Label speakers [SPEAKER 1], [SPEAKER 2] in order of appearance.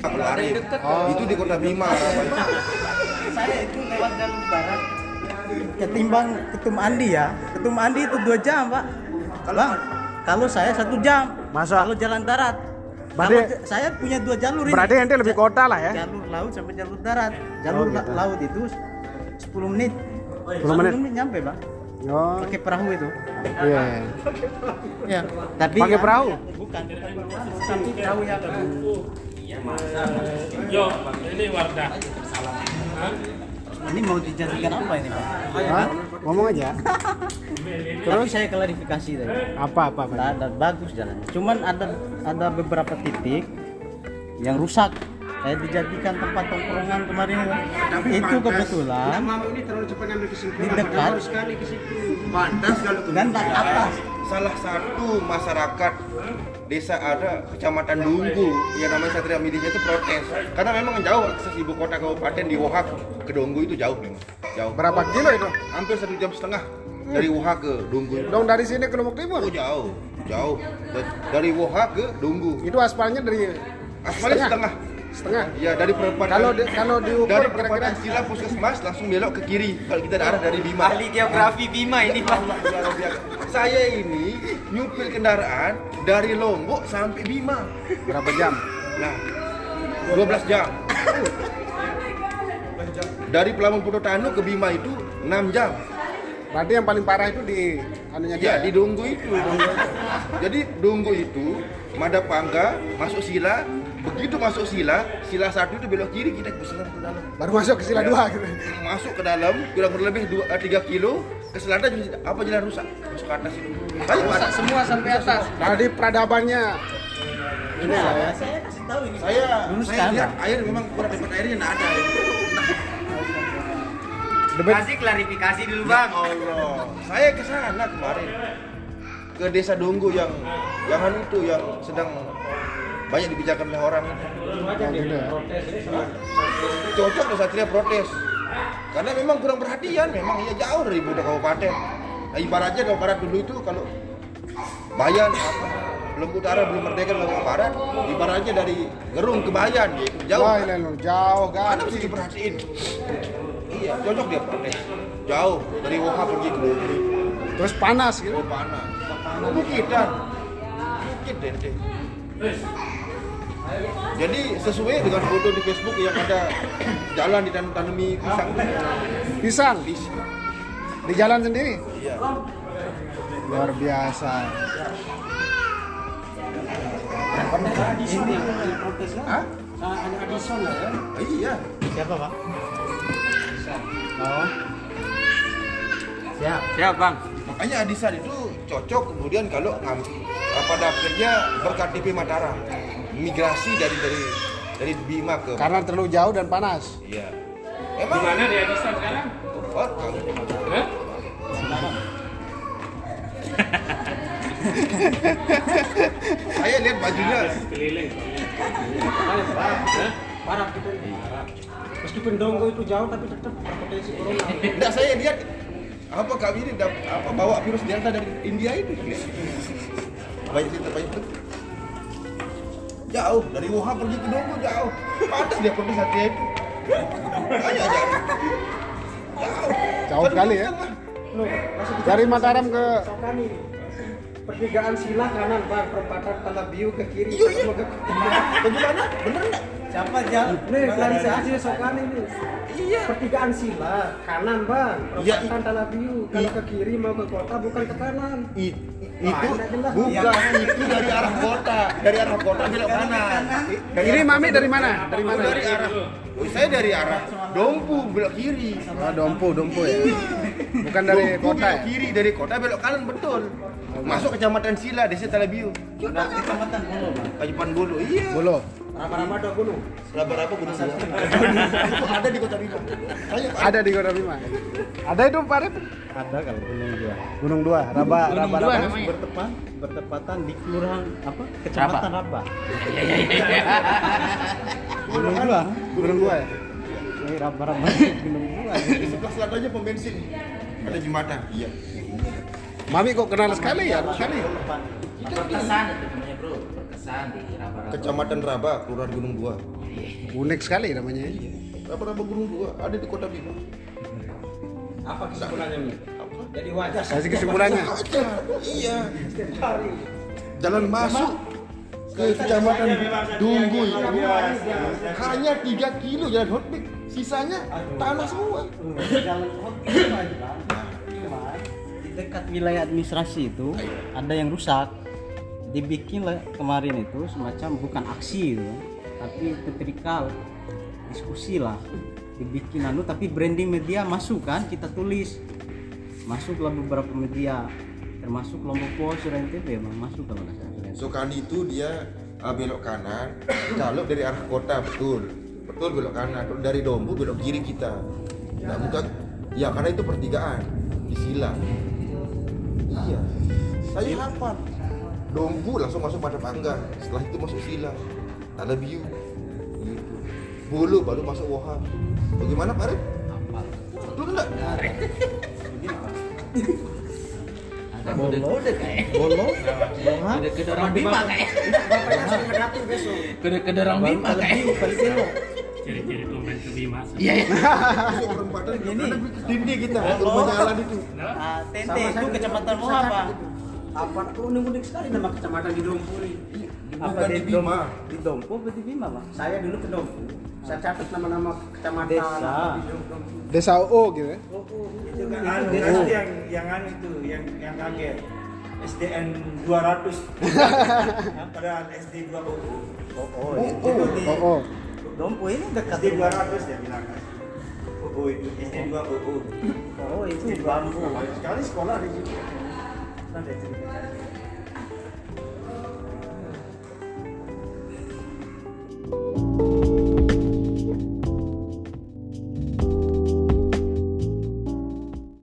[SPEAKER 1] lari.
[SPEAKER 2] Ada yang deket.
[SPEAKER 1] Itu di Kota Bima.
[SPEAKER 3] Saya itu lewat jalur barat.
[SPEAKER 4] Ketimbang ketum Andi ya. Ketum Andi itu dua jam, Pak. Bang, kalau saya satu jam.
[SPEAKER 5] Masa?
[SPEAKER 4] Kalau jalan darat.
[SPEAKER 5] Berarti-
[SPEAKER 4] Kalau j- saya punya dua jalur ini.
[SPEAKER 5] Berarti ente lebih kota lah ya.
[SPEAKER 4] Jalur laut sampai jalur darat. Jalur
[SPEAKER 5] Oh, gitu.
[SPEAKER 4] la- laut itu 10 menit.
[SPEAKER 5] 10 menit.
[SPEAKER 4] nyampe, Bang.
[SPEAKER 5] Oh,
[SPEAKER 4] Pakai perahu itu.
[SPEAKER 5] iya.
[SPEAKER 3] Iya.
[SPEAKER 4] Ya. Tapi
[SPEAKER 5] Pakai perahu?
[SPEAKER 4] Bukan, bukan perahu. Tapi perahu yang
[SPEAKER 2] Yo, Iya, ini Wardah.
[SPEAKER 4] ini mau dijadikan apa ini, Pak?
[SPEAKER 5] Hah? Ngomong aja.
[SPEAKER 4] Terus saya klarifikasi tadi.
[SPEAKER 5] Apa apa apa.
[SPEAKER 4] Ada bagus jalannya. Cuman ada ada beberapa titik yang rusak. Saya dijadikan tempat tongkrongan kemarin. itu kebetulan
[SPEAKER 3] Mama ini terlalu cepat ngambil kesimpulan.
[SPEAKER 4] di
[SPEAKER 5] kan?
[SPEAKER 4] dekat
[SPEAKER 3] Harus sekali ke situ.
[SPEAKER 1] Pantas kalau
[SPEAKER 4] dan tak
[SPEAKER 1] kemudian
[SPEAKER 4] atas.
[SPEAKER 1] salah satu masyarakat desa ada kecamatan Dunggu yang namanya Satria Midinya itu protes karena memang jauh akses ibu kota kabupaten di Wohak ke Dunggu itu jauh memang jauh
[SPEAKER 5] Berapa kilo itu?
[SPEAKER 1] hampir satu jam setengah dari Wohak ke Dunggu itu
[SPEAKER 5] Dong dari sini ke Lombok Timur.
[SPEAKER 1] Oh, jauh jauh Da- dari Wohak ke Dunggu
[SPEAKER 5] Itu aspalnya dari
[SPEAKER 1] aspalnya setengah
[SPEAKER 5] setengah.
[SPEAKER 1] ya dari perempatan
[SPEAKER 5] Kalau di- kalau diukur
[SPEAKER 1] dari
[SPEAKER 5] kira-kira
[SPEAKER 1] perempatan Sila Puskesmas langsung belok ke kiri kalau kita arah dari Bima Iya,
[SPEAKER 3] Ahli geografi Bima ini Pak.
[SPEAKER 1] saya ini nyupir kendaraan dari Lombok sampai Bima
[SPEAKER 5] berapa jam?
[SPEAKER 1] nah 12 jam dari Pelabuhan Pulau Tanu ke Bima itu 6 jam
[SPEAKER 5] Berarti yang paling parah itu di anunya dia.
[SPEAKER 1] ya di Dunggu itu jadi Dunggu itu Madapangga masuk Sila begitu masuk Sila Sila satu itu belok kiri kita keselan ke dalam
[SPEAKER 5] Baru masuk ke sila dua gitu.
[SPEAKER 1] masuk ke dalam kurang lebih 2 3 kilo ke selatan apa jalan rusak masuk ke atas itu Banyak ke atas.
[SPEAKER 3] Semua sampai atas.
[SPEAKER 5] Tadi Nah, peradabannya ini saya.
[SPEAKER 4] saya kasih tahu ini.
[SPEAKER 1] saya
[SPEAKER 4] Lurus
[SPEAKER 1] saya
[SPEAKER 4] kanan.
[SPEAKER 1] lihat air memang kurang dapat airnya nggak ada
[SPEAKER 5] Debat
[SPEAKER 3] Kasih klarifikasi dulu
[SPEAKER 1] bang
[SPEAKER 3] Bang.
[SPEAKER 1] Allah saya ke sana kemarin ke desa Donggo yang yang anu itu yang sedang banyak dibicarakan oleh orang
[SPEAKER 5] yang gitu ya.
[SPEAKER 1] cocok loh satria protes karena memang kurang perhatian memang iya jauh dari ibu kabupaten nah, ibaratnya kalau barat dulu itu kalau bayan apa belum utara belum merdeka belum barat ibaratnya dari gerung ke bayan dia ikut jauh
[SPEAKER 5] Wah, ini loh, jauh
[SPEAKER 1] Mana mesti
[SPEAKER 5] ganti.
[SPEAKER 1] diperhatiin? Iya, cocok dia protes. Jauh dari Woha pergi ke Dogri.
[SPEAKER 5] Terus panas gitu.
[SPEAKER 1] Oh panas. Bukitan. Bukit dente. Jadi sesuai dengan foto di Facebook yang ada jalan di tanami pisang.
[SPEAKER 5] Pisang di jalan sendiri.
[SPEAKER 1] Iya.
[SPEAKER 5] Luar biasa.
[SPEAKER 4] Ini yang protesnya.
[SPEAKER 1] Hah?
[SPEAKER 4] Ada Addison lah ya.
[SPEAKER 1] Iya.
[SPEAKER 4] Siapa, Pak?
[SPEAKER 3] Siap Bang.
[SPEAKER 1] Makanya Adisan itu cocok kemudian kalau ngambil pada akhirnya berKTP Mataram. Migrasi dari dari dari Bima ke
[SPEAKER 5] Karena terlalu jauh dan panas.
[SPEAKER 1] Iya.
[SPEAKER 2] Di
[SPEAKER 1] Emang
[SPEAKER 2] mana dia bisa sekarang?
[SPEAKER 1] Oh, kalau-
[SPEAKER 2] Hah?
[SPEAKER 1] saya lihat bajunya
[SPEAKER 2] Nah, Keliling.
[SPEAKER 3] Meskipun Donggo itu jauh tapi tetap berpotensi corona.
[SPEAKER 1] enggak saya lihat apa kami ini dap- apa bawa virus delta dari India itu banyak cerita banyak cerita. jauh dari Wuhan pergi ke Donggo jauh pantas dia pergi satria itu aja aja
[SPEAKER 5] Jauh sekali ya.
[SPEAKER 3] Loh, masih di
[SPEAKER 5] Dari Mataram ke
[SPEAKER 3] misalkan nih. Kan Pertigaan sila kanan Bang, perempatan Tanah Biu ke kiri.
[SPEAKER 1] Iya, iya.
[SPEAKER 3] Semua ke-
[SPEAKER 1] bagaimana bener nggak
[SPEAKER 4] Siapa jalan?
[SPEAKER 3] Nih, klarifikasi sokan ini. Iya. Pertigaan sila kanan Bang,
[SPEAKER 1] Iya, i-
[SPEAKER 3] perempatan Tanah Biu. Kalau ke kiri mau ke kota bukan ke kanan.
[SPEAKER 1] I- itu
[SPEAKER 3] Nah, jelas.
[SPEAKER 1] bukan itu dari arah kota dari arah kota belok kanan Dari
[SPEAKER 5] Ini
[SPEAKER 1] arah-
[SPEAKER 5] mami dari mana? Dari
[SPEAKER 1] Aku
[SPEAKER 5] mana?
[SPEAKER 1] dari arah oh, saya dari arah Dompu belok kiri Iya.
[SPEAKER 5] Ah, Dompu, Dompu ya. Bukan dari
[SPEAKER 1] Dompu
[SPEAKER 5] kota
[SPEAKER 1] belok
[SPEAKER 5] ya. Oh, iya.
[SPEAKER 1] kiri dari kota belok kanan betul masuk kecamatan Sila desa Talabiu
[SPEAKER 4] Sudah kecamatan dulu, Pak.
[SPEAKER 1] Kajipan Bulu iya
[SPEAKER 5] Bolo.
[SPEAKER 3] Rama-rama ada gunung.
[SPEAKER 1] berapa-berapa gunung Sila itu ada di kota Bima ayo
[SPEAKER 5] Ada di Kota Bima. Ada itu Pak Rip?
[SPEAKER 4] Ada kalau gunung dua.
[SPEAKER 5] Gunung Dua, Raba, Raba,
[SPEAKER 4] Raba-raba
[SPEAKER 5] Raba.
[SPEAKER 4] bertepat bertepatan di kelurahan apa? Kecamatan Raba. Gunung dua.
[SPEAKER 5] Gunung Dua ya.
[SPEAKER 4] Ini Raba-raba gunung dua.
[SPEAKER 1] di sebelah selatan aja pom bensin ada jembatan iya
[SPEAKER 5] Mami kok kenal sekali ya, sekali.
[SPEAKER 4] Perkesan itu namanya, Bro. Perkesan.
[SPEAKER 6] desa di Raba-Raba.
[SPEAKER 1] Kecamatan Raba, Kelurahan Gunung Dua.
[SPEAKER 5] Unik sekali namanya. ya.
[SPEAKER 1] Raba-Raba Gunung Dua ada di Kota Bima.
[SPEAKER 3] Apa kesimpulannya? Mi?
[SPEAKER 1] Apa?
[SPEAKER 3] Jadi wajah
[SPEAKER 5] Kasih kesimpulannya.
[SPEAKER 1] Ada, iya.
[SPEAKER 3] setiap hari.
[SPEAKER 1] Jalan masuk ke Kecamatan Dunggul hanya 3 kilo jalan hotbik, sisanya tanah semua.
[SPEAKER 4] jalan hotel
[SPEAKER 1] Nah,
[SPEAKER 4] aja cuma di dekat wilayah administrasi itu ada yang rusak dibikin lah kemarin itu semacam bukan aksi itu ya, tapi tetrikal diskusi lah dibikin anu tapi branding media masuk kan kita tulis masuklah beberapa media termasuk lombok pos Suren TV memang masuk kalau nggak salah Suren TV.
[SPEAKER 1] Sokani itu dia ah, belok kanan, kalau dari arah kota betul, betul belok kanan. Kalau dari Dombu belok kiri kita. Nah, muka, ya karena itu pertigaan di sila. Iya, saya hafal. Dombu langsung masuk pada panggang. Setelah itu masuk sila, tanah biu. Gitu. Bulu baru masuk woha. Bagaimana Pak Arif? Betul enggak?
[SPEAKER 6] Ada kode-kode kayak.
[SPEAKER 4] bolong Bohang.
[SPEAKER 6] Kode-kode orang Bima kayak. Kode-kode orang
[SPEAKER 4] Baru
[SPEAKER 6] Bima
[SPEAKER 4] kalau
[SPEAKER 6] kayak.
[SPEAKER 4] biu, kalau belok.
[SPEAKER 2] Ciri-ciri pemain kebi masuk.
[SPEAKER 6] Iya, iya.
[SPEAKER 1] Masuk perempatan ini. Tindih kita, rumahnya Alan itu.
[SPEAKER 4] Ah, tente itu kecamatan mau apa
[SPEAKER 3] Apa tuh unik-unik sekali nama kecamatan di Dompu ini.
[SPEAKER 1] Bukan di Bima.
[SPEAKER 4] di dompo berarti bima bang
[SPEAKER 3] Saya dulu ke Dompu. Saya catat nama-nama kecamatan
[SPEAKER 4] Desa.
[SPEAKER 3] di Dompu.
[SPEAKER 5] Desa OO gitu ya.
[SPEAKER 3] Oh, oh, itu kan
[SPEAKER 7] Anu,
[SPEAKER 3] itu
[SPEAKER 7] anu
[SPEAKER 3] desa.
[SPEAKER 7] yang yang anu itu yang yang kaget SDN 200 padahal SD 2
[SPEAKER 4] oh,
[SPEAKER 1] Oh,
[SPEAKER 7] itu
[SPEAKER 1] oh.
[SPEAKER 7] di
[SPEAKER 5] OO.
[SPEAKER 4] Dompo ini dekat
[SPEAKER 7] SD 200 dia bilang oh itu SD 2 oh
[SPEAKER 4] Oh itu bambu.
[SPEAKER 7] sekali sekolah di situ nanti cerita